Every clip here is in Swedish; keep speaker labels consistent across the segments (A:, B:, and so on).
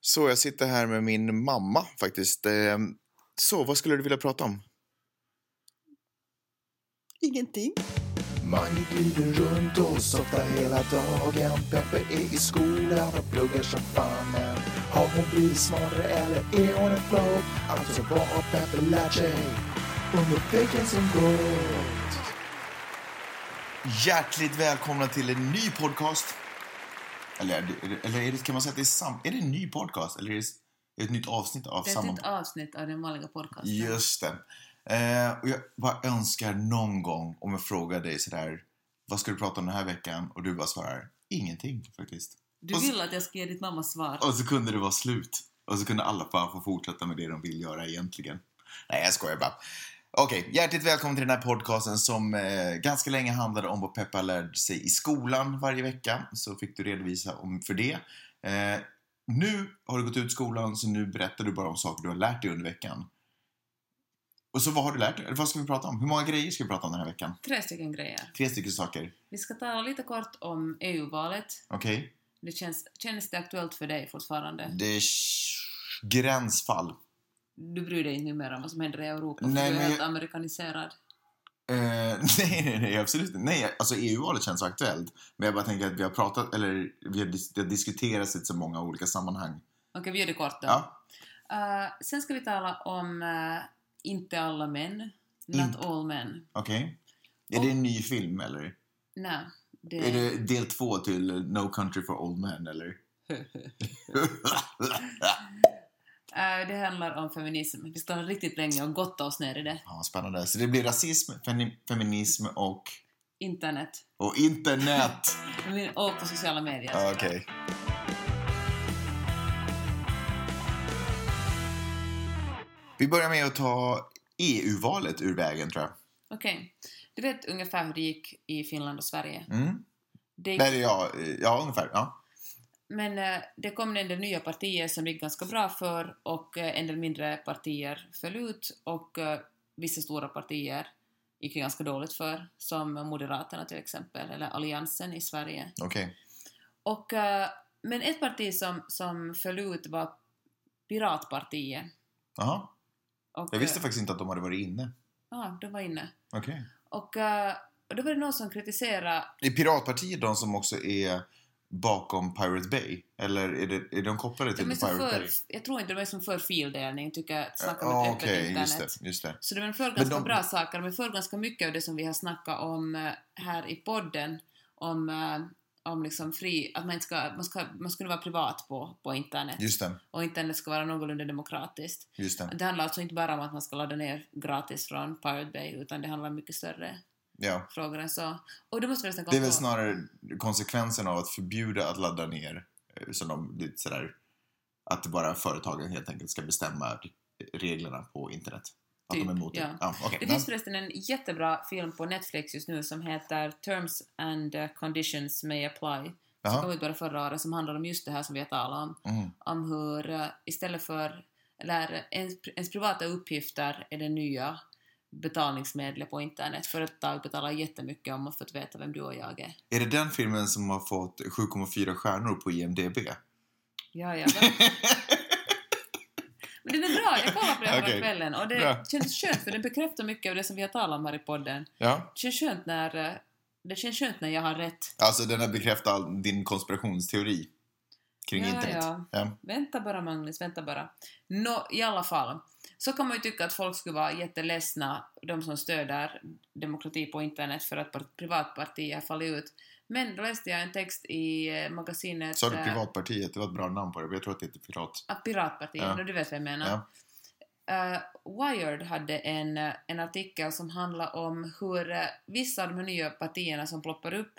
A: Så jag sitter här med min mamma faktiskt. Eh, Så vad skulle du vilja prata om?
B: Ingenting.
C: Man glider runt och softar hela dagen. Peppe är i skolan och pluggar som fan. Men Har hon blivit smartare eller är hon en flopp? Alltså vad har Peppe lärt sig under veckan som gått?
A: Hjärtligt välkomna till en ny podcast. Eller, är det- eller är det, kan man säga att det är sam... Är det en ny podcast? Eller är det ett nytt avsnitt av
B: Det är typ
A: samma...
B: ett nytt avsnitt av den vanliga podcasten.
A: Just det. Eh, och jag bara önskar någon gång om jag frågar dig sådär, vad ska du prata om den här veckan? Och du bara svarar, ingenting faktiskt.
B: Du
A: Och så-
B: ville att jag skulle ge ditt mamma svar.
A: Och så kunde det vara slut. Och så kunde alla bara få fortsätta med det de vill göra egentligen. Nej, jag skojar bara. Okej, hjärtligt välkommen till den här podcasten som eh, ganska länge handlade om vad Peppa lärde sig i skolan varje vecka. Så fick du redovisa om för det. Eh, nu har du gått ut skolan så nu berättar du bara om saker du har lärt dig under veckan. Och så vad har du lärt dig? Eller vad ska vi prata om? Hur många grejer ska vi prata om den här veckan?
B: Tre stycken grejer.
A: Tre stycken saker.
B: Vi ska tala lite kort om EU-valet.
A: Okej?
B: Det känns, känns det aktuellt för dig fortfarande?
A: Det är sh- gränsfall.
B: Du bryr dig inte numera om vad som händer i Europa för
A: Nej,
B: du är
A: men
B: helt
A: jag-
B: amerikaniserad.
A: Eh, nej, nej, nej, absolut inte. Nej, alltså EU-valet känns aktuellt. Men jag bara tänker att vi har pratat, eller vi har, dis- det har diskuterats i så många olika sammanhang.
B: Okej, vi gör det kort då.
A: Ja,
B: Eh, sen ska vi tala om eh, Inte alla män. Not
A: Inte-
B: all men.
A: okej. Är det en ny film, eller?
B: Nej, det...
A: Är det del två till No Country for Old Men, eller?
B: Eh, det handlar om feminism. Vi ska ha riktigt länge och gotta oss ner i det.
A: ja, spännande. Så det blir rasism, femi- feminism och,
B: Internet.
A: och internet.
B: Men- Och på sociala medier.
A: Ja,
B: såklart.
A: Ah, Okej. Vi börjar med att ta EU-valet ur vägen, tror jag.
B: Okej. Du vet ungefär hur det gick i Finland och Sverige?
A: Mm.
B: Det gick,
A: Nej, ja, eh, ja, ungefär. Ja.
B: men eh, det kom en del nya partier som det gick ganska bra för och eh, en del mindre partier föll ut och eh, vissa stora partier gick det ganska dåligt för, som Moderaterna till exempel, eller Alliansen i Sverige.
A: Okej.
B: Och, eh, men ett parti som, som föll ut var Piratpartiet.
A: Jaha.
B: Och,
A: Jag visste
B: eh,
A: faktiskt inte att de hade varit inne.
B: Ja, de var inne.
A: Okej.
B: Och, eh, och då var det någon som kritiserade
A: Är Piratpartiet de som också är bakom Pirate Bay? Eller är, det, är de kopplade till
B: De är
A: Pirate
B: så för,
A: Bay?
B: jag tror inte de är som för fildelning, tycker att snacka om
A: Ja,
B: ett öppet
A: Okej, just
B: internet.
A: det. Just det.
B: Så de är för ganska
A: de-
B: bra saker, de är för ganska mycket av det som vi har snackat om eh, här i podden, om, eh, om liksom fri, att man, inte ska, man, ska, man skulle vara privat på, på internet
A: Just det.
B: och internet ska vara någorlunda demokratiskt.
A: Just det.
B: Det handlar alltså inte bara om att man ska ladda ner gratis från Pirate Bay, utan det handlar om mycket större
A: Ja.
B: frågor än så. Och då måste vi nästan komma
A: Det är väl
B: på-
A: snarare konsekvensen av att förbjuda att ladda ner, eh, som de lite sådär, att det bara företagen helt enkelt ska bestämma reglerna på internet. Att
B: Typ,
A: de är emot det.
B: ja.
A: Ja, okej.
B: Det finns förresten en jättebra film på Netflix just nu som heter Terms and eh, Conditions May Apply. Som kom
A: Jaha.
B: ut bara förra året som handlar om just det här som vi har talat om.
A: Mm.
B: Om hur eh, istället för, eller ens, ens privata uppgifter är det nya betalningsmedlet på internet. Företag betalar jättemycket om man fått veta vem du och jag är.
A: Är det den filmen som har fått 7,4 stjärnor på IMDB?
B: Ja, ja. Men den är bra, jag kollade på den förra
A: Okej,
B: kvällen och det
A: bra.
B: känns skönt för den bekräftar mycket av det som vi har talat om här i podden.
A: ja.
B: Det känns skönt när, eh, det känns skönt när jag har rätt.
A: Alltså den har bekräftat all din konspirationsteori kring
B: Ja,
A: internet.
B: ja.
A: Ja.
B: Vänta bara Magnus, vänta bara. Nå, i alla fall. Så kan man ju tycka att folk skulle vara jätteledsna, de som stöder demokrati på internet för att par- privatpartier har fallit ut. Men då läste jag en text i eh, magasinet...
A: Sa du
B: eh,
A: Privatpartiet? Det var ett bra namn på det, men jag tror att det heter Pirat.
B: Ah, piratpartiet,
A: Ja.
B: och du vet vad jag menar. Eh, Wired hade en, eh, en artikel som handlar om hur eh, vissa av de här nya partierna som ploppar upp,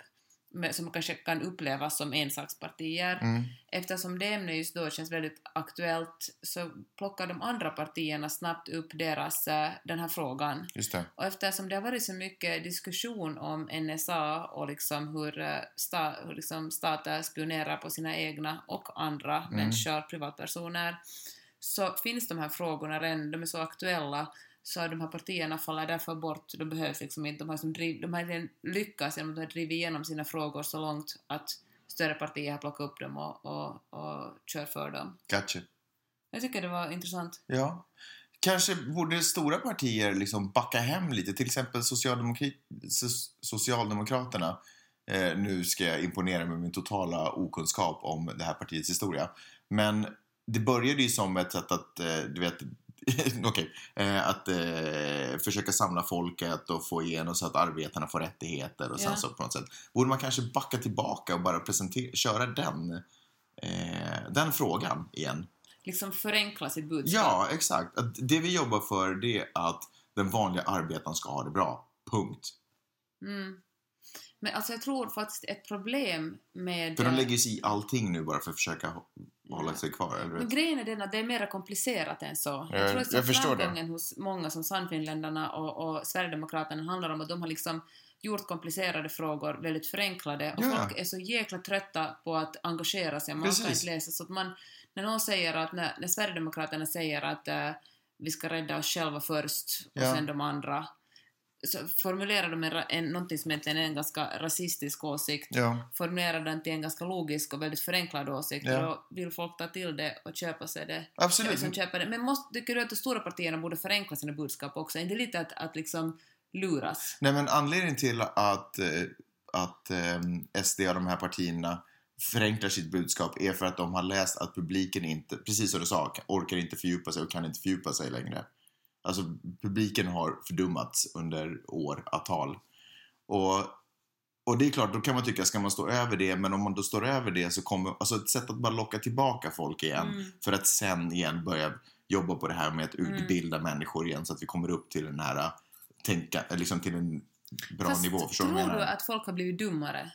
B: med, som kanske kan upplevas som ensakspartier,
A: Mm.
B: Eftersom det ämnet just då känns väldigt aktuellt så plockar de andra partierna snabbt upp deras, eh, den här frågan.
A: Just det.
B: Och eftersom det har varit så mycket diskussion om NSA och liksom hur, eh, sta, hur liksom stater spionerar på sina egna och andra människor, privatpersoner, så finns de här frågorna redan, de är så aktuella så de här partierna faller därför bort, de behövs liksom inte, de har, liksom driv, de har redan lyckats genom att de har drivit igenom sina frågor så långt att större partier har plockat upp dem och, och, och kör för dem.
A: Gotcha.
B: Jag tycker det var intressant.
A: Ja. Kanske borde stora partier liksom backa hem lite. Till exempel Socialdemokri- So- Socialdemokraterna. Eh, nu ska jag imponera med min totala okunskap om det här partiets historia. Men det började ju som ett sätt att, eh, du vet, okej, eh, att eh, försöka samla folket och få igenom så att arbetarna får rättigheter och sen
B: Ja.
A: så på något sätt. Borde man kanske backa tillbaka och bara presentera, köra den, eh, den frågan igen?
B: Liksom förenkla sitt budskap.
A: Ja, exakt. Att det vi jobbar för det är att den vanliga arbetaren ska ha det bra. Punkt.
B: Mm. Men alltså jag tror faktiskt ett problem med...
A: För de lägger sig i allting nu bara för att försöka hå- hålla
B: Ja.
A: sig kvar. Eller?
B: Men
A: hur?
B: grejen är den att det är mer komplicerat än så.
A: Ja,
B: Jag tror att
A: jag förstår det.
B: framgången hos många som Sannfinländarna och, och Sverigedemokraterna handlar om att de har liksom gjort komplicerade frågor väldigt förenklade och
A: Ja.
B: folk är så jäkla trötta på att engagera sig, man orkar
A: Precis.
B: inte läsa. Så att man, när någon säger att, när, när Sverigedemokraterna säger att eh, vi ska rädda oss själva först och
A: Ja.
B: sen de andra, så formulerar de en, ra- en, någonting som egentligen är en ganska rasistisk åsikt
A: Ja.
B: formulerar den till en ganska logisk och väldigt förenklad åsikt
A: Ja.
B: och då vill folk ta till det och köpa sig det. Eller
A: Absolut.
B: Liksom köpa det. Men måste, tycker du att de stora partierna borde förenkla sina budskap också? Är inte lite att, att liksom luras?
A: Nej, men anledningen till att, eh, att eh, SD och de här partierna förenklar sitt budskap är för att de har läst att publiken inte, precis som du sa, orkar inte fördjupa sig och kan inte fördjupa sig längre. Alltså publiken har fördummats under åratal. Och, och det är klart, då kan man tycka, ska man stå över det? Men om man då står över det så kommer, alltså ett sätt att bara locka tillbaka folk igen
B: Mm.
A: för att sen igen börja jobba på det här med att
B: Mm.
A: utbilda människor igen så att vi kommer upp till den här äh, tänka, liksom till en bra
B: Fast
A: nivå. Förstår du
B: tror
A: vad jag
B: du
A: menar?
B: att folk har blivit dummare?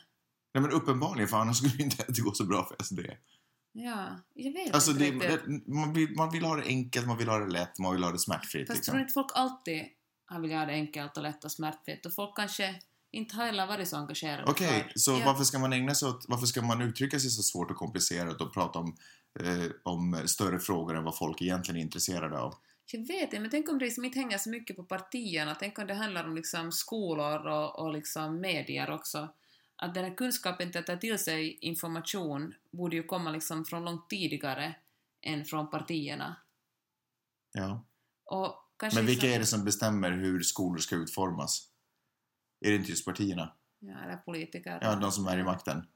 A: Nej men uppenbarligen, för annars skulle det inte det gå så bra för SD.
B: Ja, jag vet
A: Alltså
B: inte
A: det,
B: riktigt.
A: det, man, vill, man vill ha det enkelt, man vill ha det lätt, man vill ha det smärtfritt.
B: Fast
A: liksom.
B: tror du inte folk alltid har velat ha det enkelt och lätt och smärtfritt? Och folk kanske inte har heller varit så engagerade
A: Okej,
B: för-
A: så
B: ja.
A: varför ska man ägna sig åt, varför ska man uttrycka sig så svårt och komplicerat och prata om, eh, om större frågor än vad folk egentligen är intresserade av?
B: Jag vet inte, men tänk om det liksom inte hänger så mycket på partierna. Tänk om det handlar om liksom skolor och, och liksom medier också. Att den här kunskapen till att ta till sig information borde ju komma liksom från långt tidigare än från partierna.
A: Ja.
B: Och kanske
A: Men vilka
B: liksom-
A: är det som bestämmer hur skolor ska utformas? Är det inte just partierna?
B: Ja, eller politiker.
A: Ja, de som är i makten.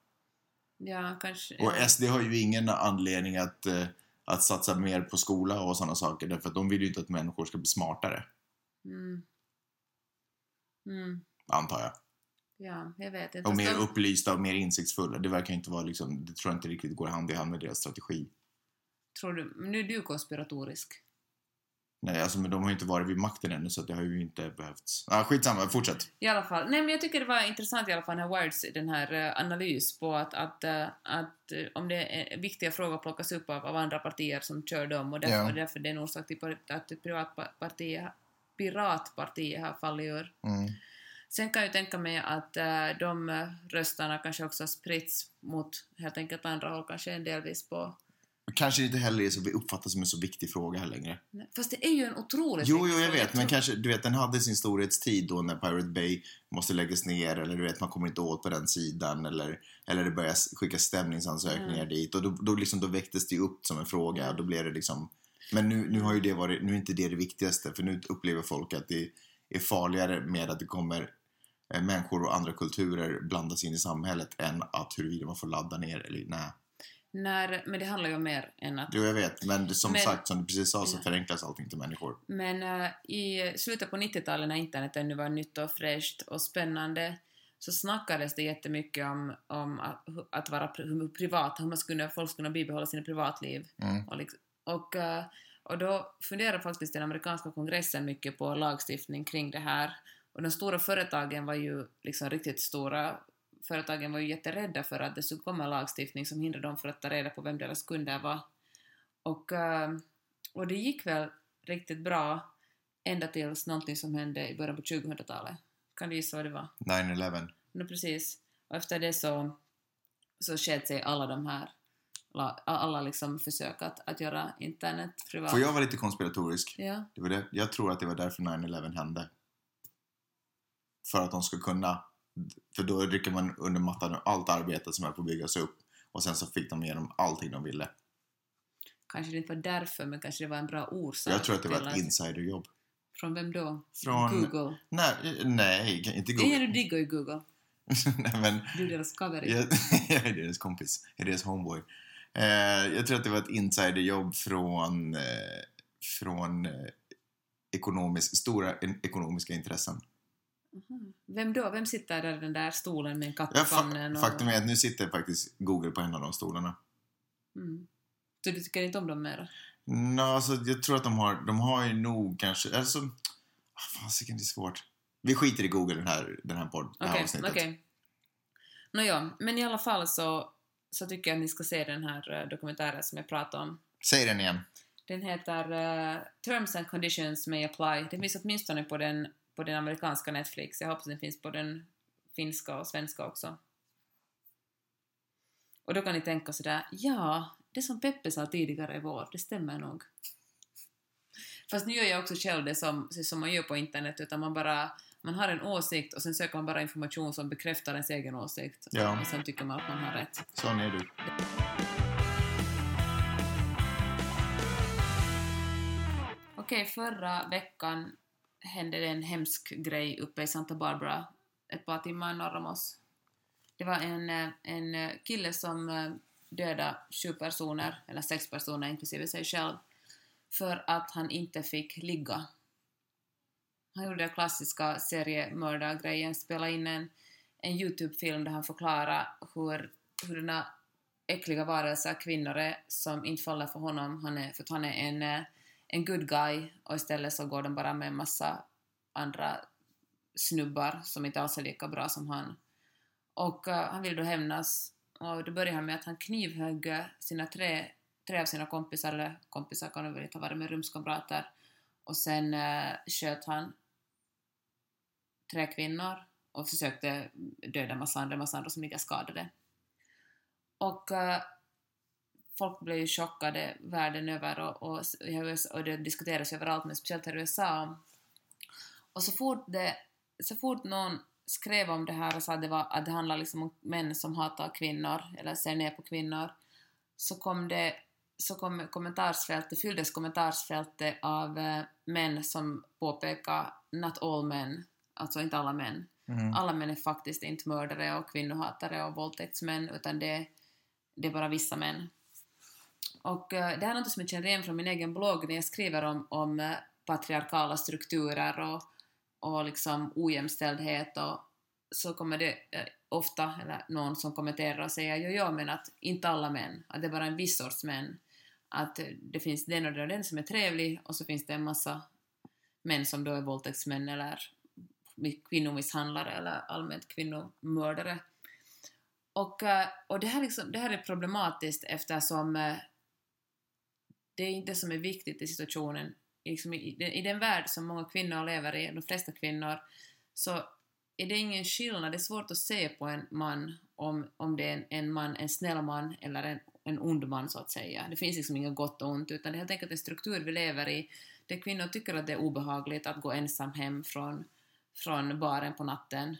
B: Ja, kanske.
A: Och
B: ja.
A: SD har ju ingen anledning att, eh, att satsa mer på skola och sådana saker därför att de vill ju inte att människor ska bli smartare,
B: Mm. Mm.
A: antar jag.
B: Ja, jag vet inte.
A: Och mer
B: Fast de-
A: upplysta och mer insiktsfulla. Det verkar inte vara liksom, det tror jag inte riktigt går hand i hand med deras strategi.
B: Tror du, nu är du konspiratorisk.
A: Nej, alltså men de har ju inte varit vid makten ännu så att det har ju inte behövts. Ah, skitsamma, fortsätt.
B: I alla fall. Nej, men jag tycker det var intressant i alla fall den här Wirds den här eh, analys på att, att, eh, att eh, om det är viktiga frågor plockas upp av, av andra partier som kör dem och därför,
A: Ja.
B: därför det är en orsak till par- att piratpartier, piratpartier har fallit ur.
A: Mm.
B: Sen kan jag ju tänka mig att eh, de eh, röstarna kanske också har spritts mot helt enkelt andra håll, kanske en delvis på...
A: Kanske inte heller är så vi uppfattas som en så viktig fråga här längre.
B: Nej, Fast det är ju en otroligt
A: Jo,
B: viktig
A: jo, jag
B: fråga.
A: vet. Men
B: tror-
A: kanske, du vet, den hade sin storhetstid då när Pirate Bay måste läggas ner eller du vet, man kommer inte åt på den sidan eller, eller det börjar s- skickas stämningsansökningar
B: Mm.
A: dit och då, då, liksom, då väcktes det ju upp som en fråga och då blev det liksom men nu, nu har ju det varit, nu är inte det det viktigaste för nu upplever folk att det är farligare med att det kommer eh, människor och andra kulturer blandas in i samhället än att huruvida man får ladda ner eller nej.
B: När, men det handlar ju om mer än att
A: Jo, jag vet, men det- som
B: Men-
A: sagt, som du precis sa så
B: Ja.
A: förenklas allting till människor.
B: Men eh, i slutet på 90-talet när internet ännu var nytt och fräscht och spännande så snackades det jättemycket om, om att, att vara pri- hur privat, hur man skulle, folk skulle kunna bibehålla sina privatliv.
A: Mm.
B: Och, liksom, och, eh, och då funderade faktiskt den amerikanska kongressen mycket på lagstiftning kring det här. Och de stora företagen var ju liksom riktigt stora. Företagen var ju jätterädda för att det skulle komma lagstiftning som hindrade dem för att ta reda på vem deras kunder var. Och, eh, och det gick väl riktigt bra ända tills någonting som hände i början på 2000-talet. Kan du gissa vad det var?
A: 9-11.
B: No, precis. Och efter det så, så skedde sig alla de här la- alla liksom försök att, att göra internet privat.
A: Får jag vara lite konspiratorisk?
B: Ja.
A: Det var det, jag tror att det var därför 9-11 hände. För att de ska kunna För då rycker man under mattan allt arbete som är på att byggas upp. Och sen så fick de igenom allting de ville.
B: Kanske det inte var därför, men kanske det var en bra orsak.
A: Jag tror att det var ett
B: till
A: insiderjobb.
B: Från vem då?
A: Från...
B: Google.
A: Nej, nej, inte
B: Det är
A: Google.
B: du diggar ju Google.
A: nej, men
B: Du är deras cover.
A: Jag, jag är deras kompis. Jag är deras homeboy. Eh, jag tror att det var ett insiderjobb från, eh, från eh, ekonomisk, stora en, ekonomiska intressen.
B: Mhm. Vem då? Vem sitter där i den där stolen med en katt
A: Ja,
B: i famnen?
A: fa- faktum är att nu sitter faktiskt Google på en av de stolarna.
B: Mm. Så du tycker inte om dem mer?
A: Nå, alltså, jag tror att de har, de har ju nog kanske, alltså, ah, fasiken det är svårt. Vi skiter i Google den här, den här podden, det här
B: Okej,
A: avsnittet.
B: okej. Nåja, men i alla fall så, så tycker jag att ni ska se den här eh, dokumentären som jag pratade om.
A: Säg den igen.
B: Den heter eh, Terms and Conditions May Apply. Den finns åtminstone på den, på den amerikanska Netflix. Jag hoppas den finns på den finska och svenska också. Och då kan ni tänka sådär, ja, det som Peppe sa tidigare i vår, det stämmer nog. Fast nu gör jag också själv det som, som man gör på internet, utan man bara man har en åsikt och sen söker man bara information som bekräftar ens egen åsikt.
A: Ja.
B: Och sen tycker man att man har rätt.
A: Sån är du.
B: Okej, förra veckan hände det en hemsk grej uppe i Santa Barbara ett par timmar norr om oss. Det var en, eh, en eh, kille som eh, dödade sju personer, eller sex personer inklusive sig själv, för att han inte fick ligga. Han gjorde den klassiska seriemördargrejen, spelade in en, en Youtube-film där han förklarar hur, hur denna äckliga varelser, kvinnor, är som inte faller för honom, han är, för att han är en eh, en good guy och istället så går de bara med en massa andra snubbar som inte alls är lika bra som han. Och eh, han vill då hämnas och då börjar han med att han knivhögg eh, sina tre, tre av sina kompisar, eller kompisar kan det väl inte ha varit, men rumskamrater. Och sen eh, sköt han tre kvinnor och försökte döda massa andra, massa andra som ligger skadade. Och eh, folk blev ju chockade världen över och, och, i USA och det diskuteras överallt, men speciellt här i USA. Och så fort, det, så fort någon skrev om det här och sa att det, var, att det handlar liksom om män som hatar kvinnor eller ser ner på kvinnor, så kom det så kom kommentarsfältet, fylldes kommentarsfältet av eh, män som påpekade “not all men”, alltså inte alla män.
A: Mm.
B: Alla män är faktiskt inte mördare och kvinnohatare och våldtäktsmän, utan det, det är bara vissa män. Och eh, det här är något som jag känner igen från min egen blogg när jag skriver om, om eh, patriarkala strukturer och, och liksom ojämställdhet och så kommer det eh, ofta eller någon som kommenterar och säger jo, jo, men att inte alla män, att det är bara en viss sorts män. Att eh, det finns den och den och den som är trevlig och så finns det en massa män som då är våldtäktsmän eller kvinnomisshandlare eller allmänt kvinnomördare. Och, eh, och det, här liksom, det här är problematiskt eftersom eh, det är inte det som är viktigt i situationen. Liksom i, i- I den värld som många kvinnor lever i, de flesta kvinnor, så är det ingen skillnad. Det är svårt att se på en man om, om det är en, en man, en snäll man eller en, en ond man så att säga. Det finns liksom inget gott och ont utan det är helt enkelt en struktur vi lever i där kvinnor tycker att det är obehagligt att gå ensam hem från, från baren på natten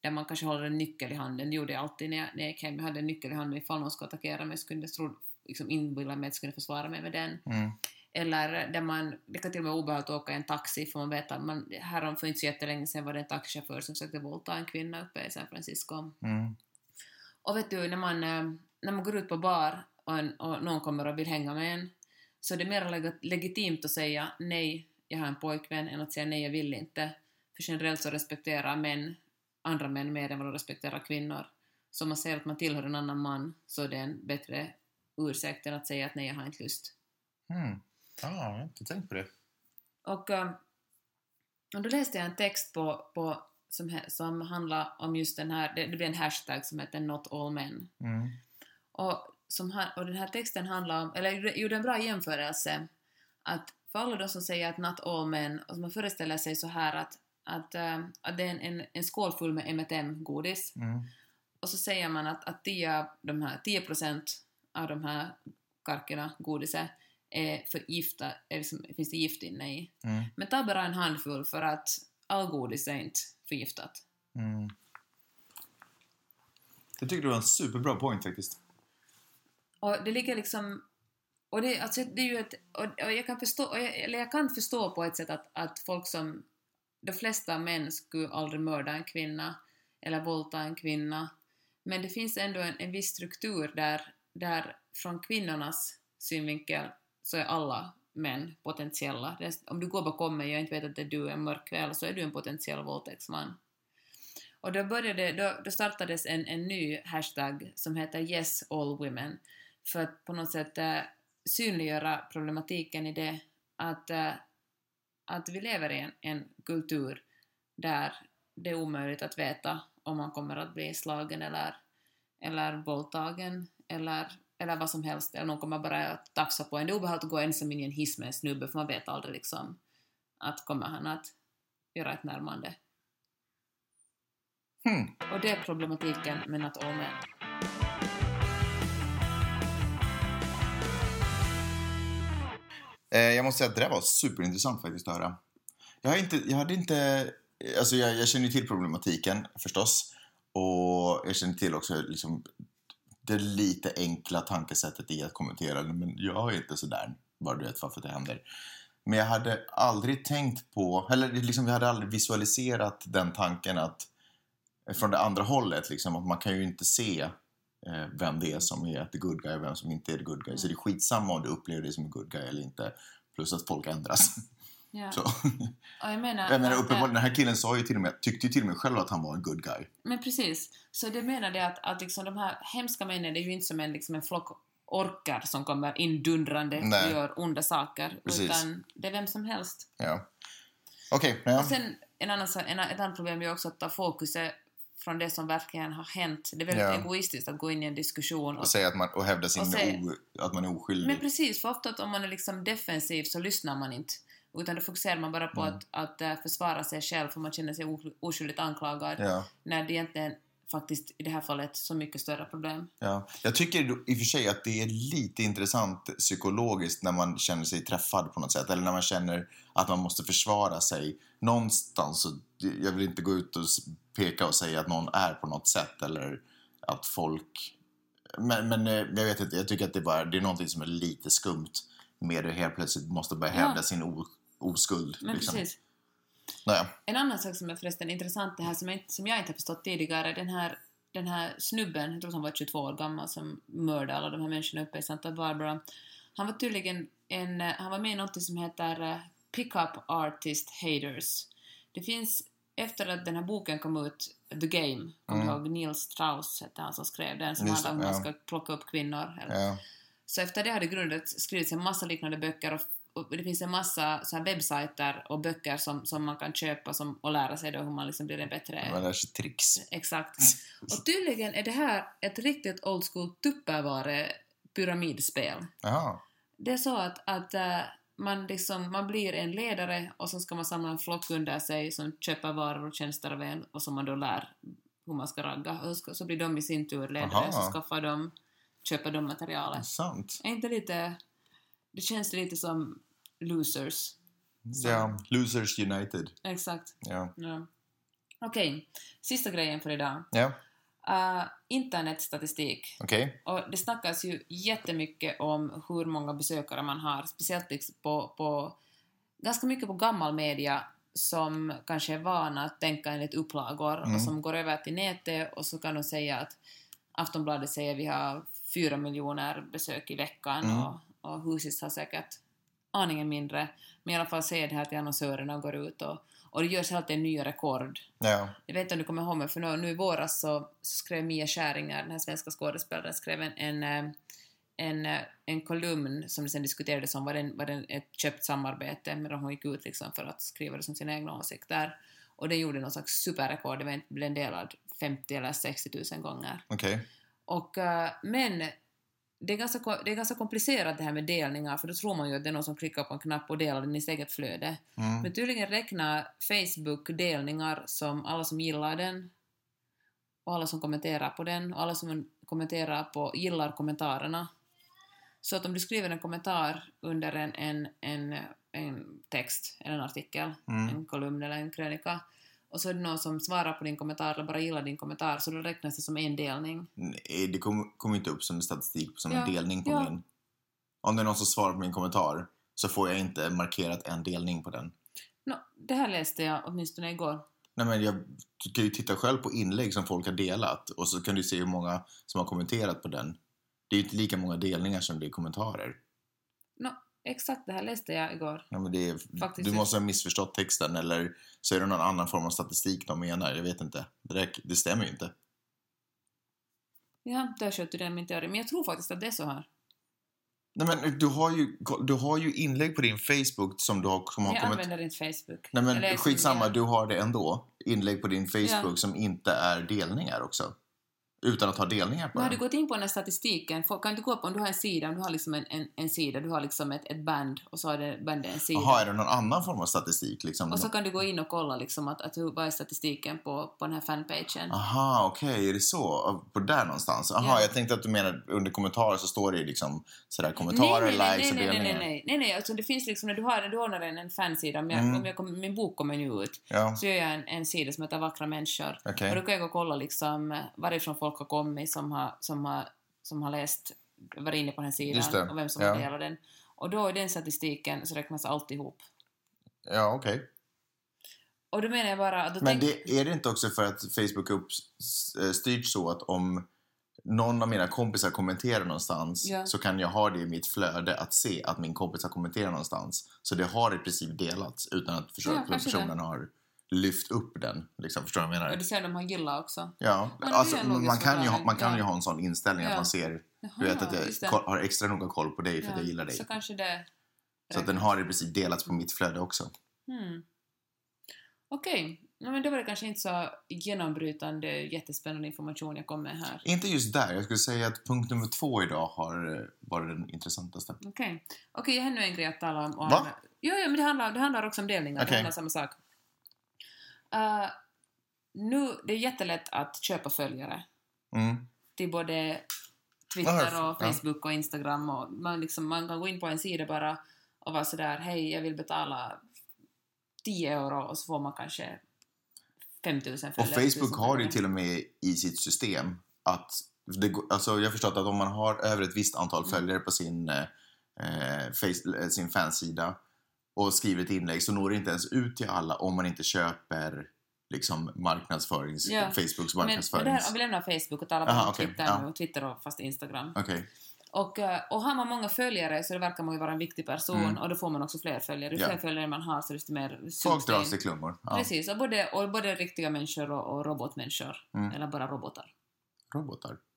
B: där man kanske håller en nyckel i handen. Det gjorde jag alltid när jag, när jag gick hem. Jag hade en nyckel i handen ifall någon skulle attackera mig. så kunde Jag tro, liksom inbilla mig att jag skulle försvara mig med den.
A: Mm.
B: Eller där man, det kan till och med vara obehagligt att åka i en taxi för man vet att man, härom för inte så jättelänge sedan var det en taxichaufför som försökte våldta en kvinna uppe i San Francisco.
A: Mm.
B: Och vet du, när man, eh, när man går ut på bar och, en, och någon kommer och vill hänga med en, så är det mer leg- legitimt att säga nej, jag har en pojkvän, än att säga nej, jag vill inte. För generellt så respekterar män andra män mer än vad de respekterar kvinnor. Så om man säger att man tillhör en annan man, så är det en bättre ursäkt än att säga att nej, jag har inte lust.
A: Mm. Ja, jag har inte tänkt på det.
B: Och, eh, och då läste jag en text på, på, som, he- som handlar om just den här, det, det blev en hashtag som heter Not All Men.
A: Mm.
B: Och, som han, och den här texten handlar om, eller gjorde- gjorde en bra jämförelse, att för alla de som säger att not all men, och som man föreställer sig så här att, att, eh, att det är en, en, en skål full med M&M-godis,
A: Mm.
B: och så säger man att, att 10, av de här, 10% av de här karkerna, godiset, är förgifta, är liksom, finns det gift inne i.
A: Mm.
B: Men ta bara en handfull för att all godis är inte förgiftat.
A: Mm. Jag tycker det var en superbra point faktiskt.
B: Och det ligger liksom... Och det, alltså, det är ju ett, och, och jag kan förstå, och jag, eller jag kan förstå på ett sätt att, att folk som... De flesta män skulle aldrig mörda en kvinna eller våldta en kvinna. Men det finns ändå en, en viss struktur där, där från kvinnornas synvinkel så är alla män potentiella. Det är, om du går bakom mig och jag inte vet att det är du en mörk kväll så är du en potentiell våldtäktsman. Och då, började, då, då startades en, en ny hashtag som heter Yes All Women för att på något sätt eh, synliggöra problematiken i det att, eh, att vi lever i en, en kultur där det är omöjligt att veta om man kommer att bli slagen eller, eller våldtagen eller, eller vad som helst. Eller någon kommer bara att tafsa på en. Det är obehagligt att gå ensam in i en hiss med en snubbe för man vet aldrig liksom att kommer han att göra ett närmande.
A: Hmm.
B: Och det är problematiken med Not All Men.
A: Eh, jag måste säga att det där var superintressant faktiskt att höra. Jag, har inte, jag hade inte... Alltså jag, jag känner ju till problematiken förstås. Och jag känner till också liksom det lite enkla tankesättet i att kommentera det. Men jag är inte sådär, bara du vet varför det händer. Men jag hade aldrig tänkt på, eller liksom jag hade aldrig visualiserat den tanken att från det andra hållet liksom, att man kan ju inte se eh, vem det är som är the good guy och vem som inte är the good guy. Så det är skitsamma om du upplever dig som en good guy eller inte. Plus att folk ändras.
B: Ja.
A: Så.
B: Och jag menar,
A: Jag menar
B: att- eh,
A: uppenbarligen, den här killen sa ju till och med, tyckte ju till och med själv att han var en good guy.
B: Men precis. Så det menar det att, att liksom de här hemska männen, det är ju inte som en, liksom en flock orkar som kommer indundrande
A: Nej.
B: och gör onda saker.
A: Precis.
B: Utan det är vem som helst.
A: Ja. Okej, ja.
B: Och sen en annan, sa- en, ett annat problem är ju också att ta fokuset från det som verkligen har hänt. Det är väldigt
A: Ja.
B: egoistiskt att gå in i en diskussion. Och,
A: och säga att man, och hävda sin
B: och säga-
A: o, att man är oskyldig.
B: men precis, för ofta att om man är liksom defensiv så lyssnar man inte. Utan då fokuserar man bara på
A: Mm.
B: att, att eh, försvara sig själv för man känner sig o- oskyldigt anklagad.
A: Ja,
B: När det egentligen faktiskt i det här fallet så mycket större problem.
A: ja. Jag tycker då- i och för sig att det är lite intressant psykologiskt när man känner sig träffad på något sätt. Eller när man känner att man måste försvara sig någonstans. Så jag vill inte gå ut och s- peka och säga att någon är på något sätt eller att folk... Men, men eh, jag vet inte, jag tycker att det, är bara, det är någonting som är lite skumt med det helt plötsligt måste börja
B: Ja.
A: hävda sin o, oskuld. liksom.
B: Men precis.
A: Naja.
B: En annan sak som är förresten intressant det här som jag, inte- som jag inte har förstått tidigare, den här, den här snubben, jag tror att han var 22 år gammal, som mördade alla de här människorna uppe i Santa Barbara. Han var tydligen en, eh, han var med i något som heter eh, Pickup Artist Haters. Det finns, efter att den här boken kom ut, The Game, kommer
A: Mm.
B: du ihåg Neil Strauss hette han som skrev den, som
A: Just
B: handlar om hur
A: det,
B: man
A: ja.
B: ska plocka upp kvinnor. Eller,
A: Ja.
B: så efter det har det grundats, skrivits en massa liknande böcker och, och det finns en massa så här webbsajter och böcker som, som man kan köpa som, och lära sig då hur man liksom blir en bättre...
A: Man lär sig tricks.
B: Exakt. Och tydligen är det här ett riktigt old school tupperware pyramidspel.
A: Jaha.
B: Det är så att, att eh, man, liksom, man blir en ledare och så ska man samla en flock under sig som köper varor och tjänster av en och som man då lär hur man ska ragga. Och så ska- så blir de i sin tur ledare
A: Aha.
B: och så skaffar de, köper de materialet.
A: Sant.
B: Är inte lite... Det känns lite som losers.
A: Ja, Losers United.
B: Exakt.
A: Ja.
B: Ja. Okej, sista grejen för idag.
A: Ja,
B: Uh, internetstatistik.
A: okej.
B: Och det snackas ju jättemycket om hur många besökare man har, speciellt liksom på, på ganska mycket på gammal media som kanske är vana att tänka enligt upplagor
A: Mm.
B: och som går över till nätet och så kan de säga att Aftonbladet säger vi har fyra miljoner besök i veckan
A: Mm.
B: och, och Husis har säkert aningen mindre. Men i alla fall säger det här till annonsörerna och går ut och, och det görs alltid nya rekord.
A: Ja.
B: Jag vet inte om du kommer ihåg men för nu, nu i våras så, så skrev Mia Skäringer, den här svenska skådespelaren, skrev en, en, eh, en, eh, en kolumn som sen diskuterades om var, den, var den ett köpt samarbete men hon gick ut liksom för att skriva det som sina egna åsikter. Och den gjorde någon slags superrekord, det var en- blev en delad 50 eller 60 000 gånger.
A: Okej.
B: Och, eh, men det är, ganska, ko- det är ganska komplicerat det här med delningar för då tror man ju att det är någon som klickar på en knapp och delar den i sitt eget flöde.
A: Mm.
B: Men tydligen räknar Facebook delningar som alla som gillar den och alla som kommenterar på den och alla som kommenterar på gillar kommentarerna. Så att om du skriver en kommentar under en, en, en, en text eller en artikel,
A: Mm.
B: en kolumn eller en krönika och så är det någon som svarar på din kommentar eller bara gillar din kommentar så då räknas det som en delning.
A: Nej, det kommer kom inte upp som statistik som
B: Ja,
A: en delning på
B: ja.
A: min. Om det är någon som svarar på min kommentar så får jag inte markerat en delning på den.
B: Nå, det här läste jag åtminstone igår.
A: Nej, men jag, du kan ju titta själv på inlägg som folk har delat och så kan du se hur många som har kommenterat på den. Det är ju inte lika många delningar som det är kommentarer.
B: Exakt det här läste jag igår.
A: Ja, men det är,
B: Faktiskt
A: du
B: är-
A: måste ha missförstått texten eller så är det någon annan form av statistik de menar. Jag vet inte. Det, där, det stämmer ju inte.
B: Ja, där köpte den min teori. Men jag tror faktiskt att det är så här.
A: Nej, men du har ju, du har ju inlägg på din Facebook som du har, som
B: Men
A: har
B: jag
A: kommit...
B: använder inte Facebook.
A: Nej
B: Eller
A: men
B: som
A: skitsamma,
B: jag-
A: du har det ändå. Inlägg på din Facebook
B: Ja.
A: som inte är delningar också. Utan att ha delningar på
B: Men har du
A: den.
B: gått in på den här statistiken? Får- Kan du gå på om du har en sida, om du har liksom en, en, en sida, du har liksom ett, ett band och så har det bandet en sida.
A: Jaha, är det någon annan form av statistik liksom?
B: Och så kan du gå in och kolla liksom att, att hur, vad är statistiken på, på den här fanpagen.
A: Aha, okej, är det så? På där någonstans? Aha,
B: Ja.
A: jag tänkte att du menar under kommentarer så står det ju liksom sådär kommentarer, likes och
B: nej, nej,
A: delningar.
B: nej, nej, nej, nej, alltså det finns liksom när du har, när du ordnar en, en fansida, om, jag,
A: Mm.
B: om jag kommer- min bok kommer nu ut,
A: Ja,
B: så gör jag en, en sida som heter Vackra människor.
A: okej.
B: Och då kan jag gå och kolla liksom varifrån folk har kommit som har, som har, som har läst, varit inne på den här
A: Just det,
B: sidan och vem som
A: ja.
B: har delat den. Och då i den statistiken så räknas alltihop.
A: Ja, okej.
B: Och då menar jag bara att... Då
A: Men
B: tänk,
A: det, är det inte också för att Facebook är uppstyrt så att om någon av mina kompisar kommenterar någonstans
B: Ja.
A: så kan jag ha det i mitt flöde att se att min kompis har kommenterat någonstans. Så det har i princip delats utan att förstå
B: Ja,
A: att
B: kanske
A: personen har lyft upp den. Liksom, förstår du vad jag
B: Och
A: menar?
B: det ser de har gillat också.
A: Ja,
B: Men det
A: alltså,
B: är en logisk
A: man kan, ju ha, man kan
B: förklaring,
A: ju ha en sån inställning att
B: Ja.
A: man ser,
B: Jaha,
A: du vet att
B: just det.
A: jag ko- har extra noga koll på dig för att jag gillar dig.
B: Så kanske det...
A: Så att den har i princip delats på mitt flöde också.
B: Hmm. Okej, ja, men då var det kanske inte så genombrytande, jättespännande information jag kom med här.
A: Inte just där, jag skulle säga att punkt nummer två idag har eh, varit den intressantaste.
B: Okej, Okej, jag har nu en grej att tala om. om
A: Va?
B: Ja, ja, men det handlar, det handlar också om delningar. Det
A: Okej.
B: handlar om samma sak. Eh, nu, det är jättelätt att köpa följare
A: Mm.
B: till både
A: Aha,
B: Twitter och
A: ja.
B: Facebook och Instagram. Och man, liksom, man kan gå in på en sida bara och vara sådär, hej, jag vill betala 10 euro och så får man kanske 5000
A: Och
B: följare.
A: Facebook
B: 1000
A: har ju
B: följare.
A: till och med i sitt system att det, går- alltså jag har förstått att om man har över ett visst antal
B: Mm.
A: följare på sin, eh, eh, face, eh, sin fansida och skriver ett inlägg så når det inte ens ut till alla om man inte köper liksom marknadsförings,
B: Ja.
A: Facebooks
B: Men, men det här,
A: marknadsförings...
B: om vi lämnar Facebook och talar
A: Aha,
B: bara om
A: okej,
B: Twitter
A: ja.
B: nu, Twitter och fast Instagram.
A: Okej,
B: Och, eh, och har man många följare så verkar man ju vara en viktig person
A: Mm.
B: och då får man också fler följare. Ju
A: Ja.
B: fler följare man har så desto mer sugs
A: folk
B: det
A: drar
B: in.
A: sig i klumpor. Ja.
B: Precis, och både, och både riktiga människor och, och robotmänniskor.
A: Mm.
B: Eller bara robotar.
A: Robotar.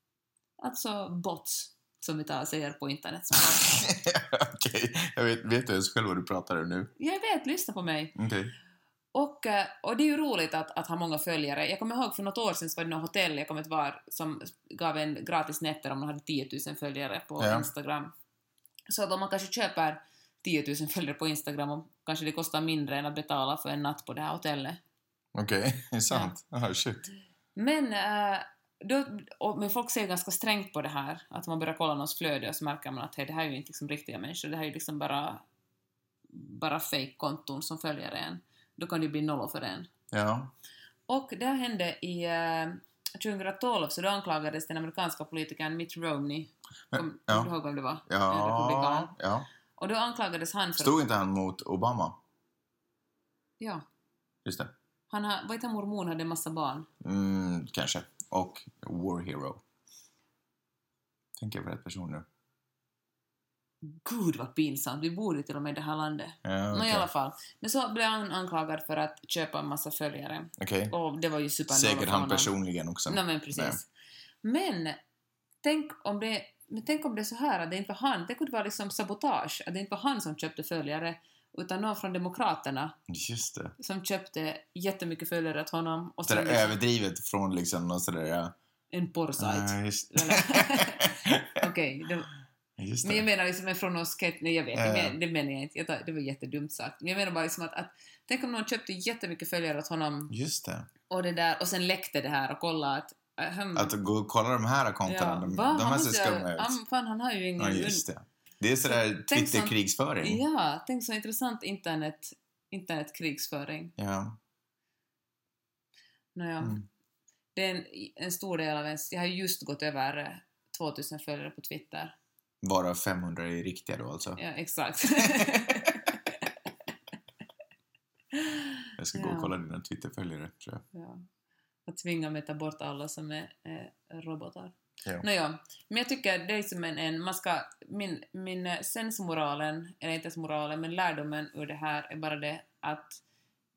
B: Alltså bots, som vi tar, säger på internet. som bara,
A: Okej, jag vet, vet du ens själv vad du pratar om nu?
B: jag vet, lyssna på mig.
A: Okej.
B: Och, eh, och det är ju roligt att, att ha många följare. Jag kommer ihåg för något år sedan så var det något hotell, jag kommer inte var, som gav en gratis nätter om man hade 10 000 följare på
A: Ja.
B: Instagram. Så att om man kanske köper 10 000 följare på Instagram och kanske det kostar mindre än att betala för en natt på det här hotellet.
A: Okej, det är sant? Ah, shit.
B: Men, eh, då, och, men folk ser ju ganska strängt på det här, att man börjar kolla någons flöde och så märker man att hej, det här är ju inte liksom riktiga människor, det här är ju liksom bara, bara fake-konton som följer en. Då kan det ju bli nollor för en.
A: Ja.
B: Och det här hände i eh, 2012, så då anklagades den amerikanska politikern Mitt Romney.
A: Men-
B: Kom,
A: ja.
B: Kommer du ihåg vem det var? En
A: Ja.
B: republikan.
A: ja.
B: Och då anklagades han för...
A: Stod inte han mot Obama?
B: Ja.
A: Just det.
B: Han har, vad heter han, mormon, hade en massa barn.
A: Mm, kanske. Och War Hero. Tänker jag på rätt person nu.
B: Gud vad pinsamt, vi bor ju till och med i det här landet.
A: Ja,
B: Nå, i
A: okej.
B: alla fall. Men så blev han anklagad för att köpa en massa följare.
A: Okej.
B: Och det var ju supernollat
A: Säkert
B: för
A: han
B: honom.
A: personligen också.
B: Nej men precis. Men tänk om det men tänk om det är så här att det inte var han, det kunde vara liksom sabotage, att det inte var han som köpte följare utan någon från Demokraterna
A: Just det.
B: som köpte jättemycket följare åt honom och
A: Det
B: sen
A: där överdrivet från liksom någon sådär... Ja.
B: en porrsajt.
A: Ja, just,
B: Eller- Okej, det-
A: just
B: men jag
A: det.
B: menar liksom från någon sketch, nej jag vet,
A: Ja, ja.
B: men, det menar jag inte, jag tar, det var jättedumt sagt. Men jag menar bara liksom att, att tänk om någon köpte jättemycket följare åt honom
A: Just det.
B: och det där och sen läckte det här och kolla att äh, hem,
A: Att gå och kolla de här kontona.
B: ja,
A: de,
B: va?
A: de här
B: Han
A: ser
B: måste-
A: skumma ut.
B: Han, fan, han har ju ingen...
A: Ja, just det. Det är sådär
B: Tänk som-
A: Twitter-krigsföring.
B: Ja, tänk så intressant internet, internetkrigsföring.
A: Ja.
B: Nåja.
A: Mm.
B: Det är en, en stor del av ens... Jag har ju just gått över eh, 2000 följare på Twitter.
A: Bara 500 är riktiga då alltså.
B: Ja, exakt.
A: Jag ska gå
B: Ja.
A: och kolla dina Twitterföljare tror jag.
B: ja. Att tvinga mig att ta bort alla som är eh, robotar.
A: Ja.
B: Nåja, men jag tycker det är som en, en man ska, min, min eh, sensmoralen, eller inte ens moralen, men lärdomen ur det här är bara det att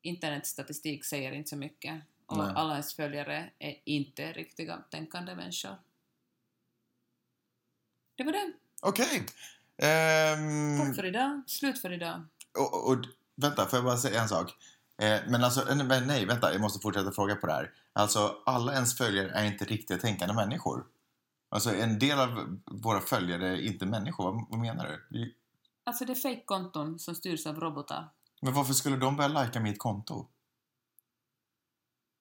B: internetstatistik säger inte så mycket. Och
A: Nej.
B: alla ens följare är inte riktiga tänkande människor. Det var det.
A: Okej! Ehm,
B: Tack för idag. Slut för idag.
A: och, och, och vänta, får jag bara säga en sak? Eh, men alltså, en- men nej, vänta, jag måste fortsätta fråga på det här. Alltså, alla ens följare är inte riktigt tänkande människor. Alltså, en del av våra följare är inte människor. Vad, vad menar du? Det-
B: Alltså det är fejkkonton som styrs av robotar.
A: Men varför skulle de börja lajka mitt konto?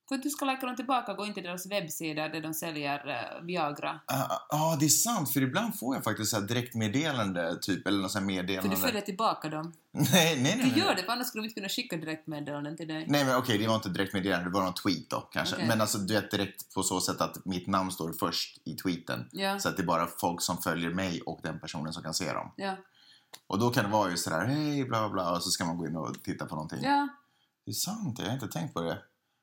B: För att du ska lajka dem tillbaka, gå in till deras webbsida där de säljer eh, Viagra.
A: Ja, ah, ah, det är sant, för ibland får jag faktiskt så här direktmeddelande, typ, eller något sånt
B: För
A: meddelande.
B: du följer tillbaka dem.
A: Nej, nej, nej. nej.
B: Du gör det, för annars skulle de inte kunna skicka direktmeddelanden till dig.
A: Nej men okej, det var inte direkt meddelande, det var någon tweet då kanske.
B: Okej.
A: Men alltså du vet direkt på så sätt att mitt namn står först i tweeten.
B: Ja,
A: Så att det är bara folk som följer mig och den personen som kan se dem.
B: ja, och
A: Och då kan det vara ju sådär, hej bla bla bla, och så ska man gå in och titta på någonting.
B: ja,
A: Det är sant, jag har inte tänkt på det.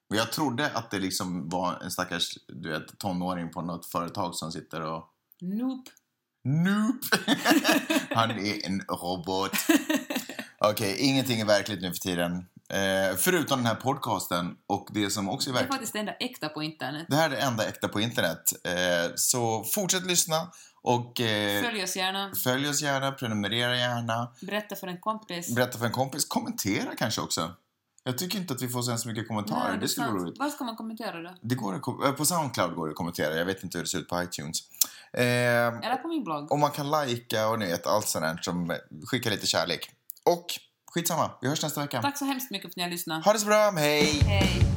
A: Men jag trodde att det liksom var en stackars, du vet, tonåring på något företag som sitter och
B: nope.
A: Nope! Han är en robot. Okej, ingenting är verkligt nu för tiden. Eh, förutom den här podcasten och det som också är
B: Det är
A: verkligt.
B: faktiskt det enda äkta på internet.
A: Det här är det enda äkta på internet. Eh, så fortsätt lyssna och eh,
B: Följ oss gärna,
A: följ oss gärna, prenumerera gärna,
B: berätta för en kompis.
A: berätta för en kompis, kommentera kanske också. Jag tycker inte att vi får så hemskt mycket kommentarer.
B: Nej,
A: det skulle vara roligt.
B: Vad ska man kommentera då?
A: Det går att, kom- eh, på Soundcloud går det att kommentera. Jag vet inte hur det ser ut på iTunes. Eh,
B: Eller på min blogg.
A: Och man kan lajka och ni vet allt sånt där som skickar lite kärlek. Och skitsamma, vi hörs nästa vecka.
B: Tack så hemskt mycket för att ni har lyssnat.
A: Ha det så bra, hej!
B: Hej!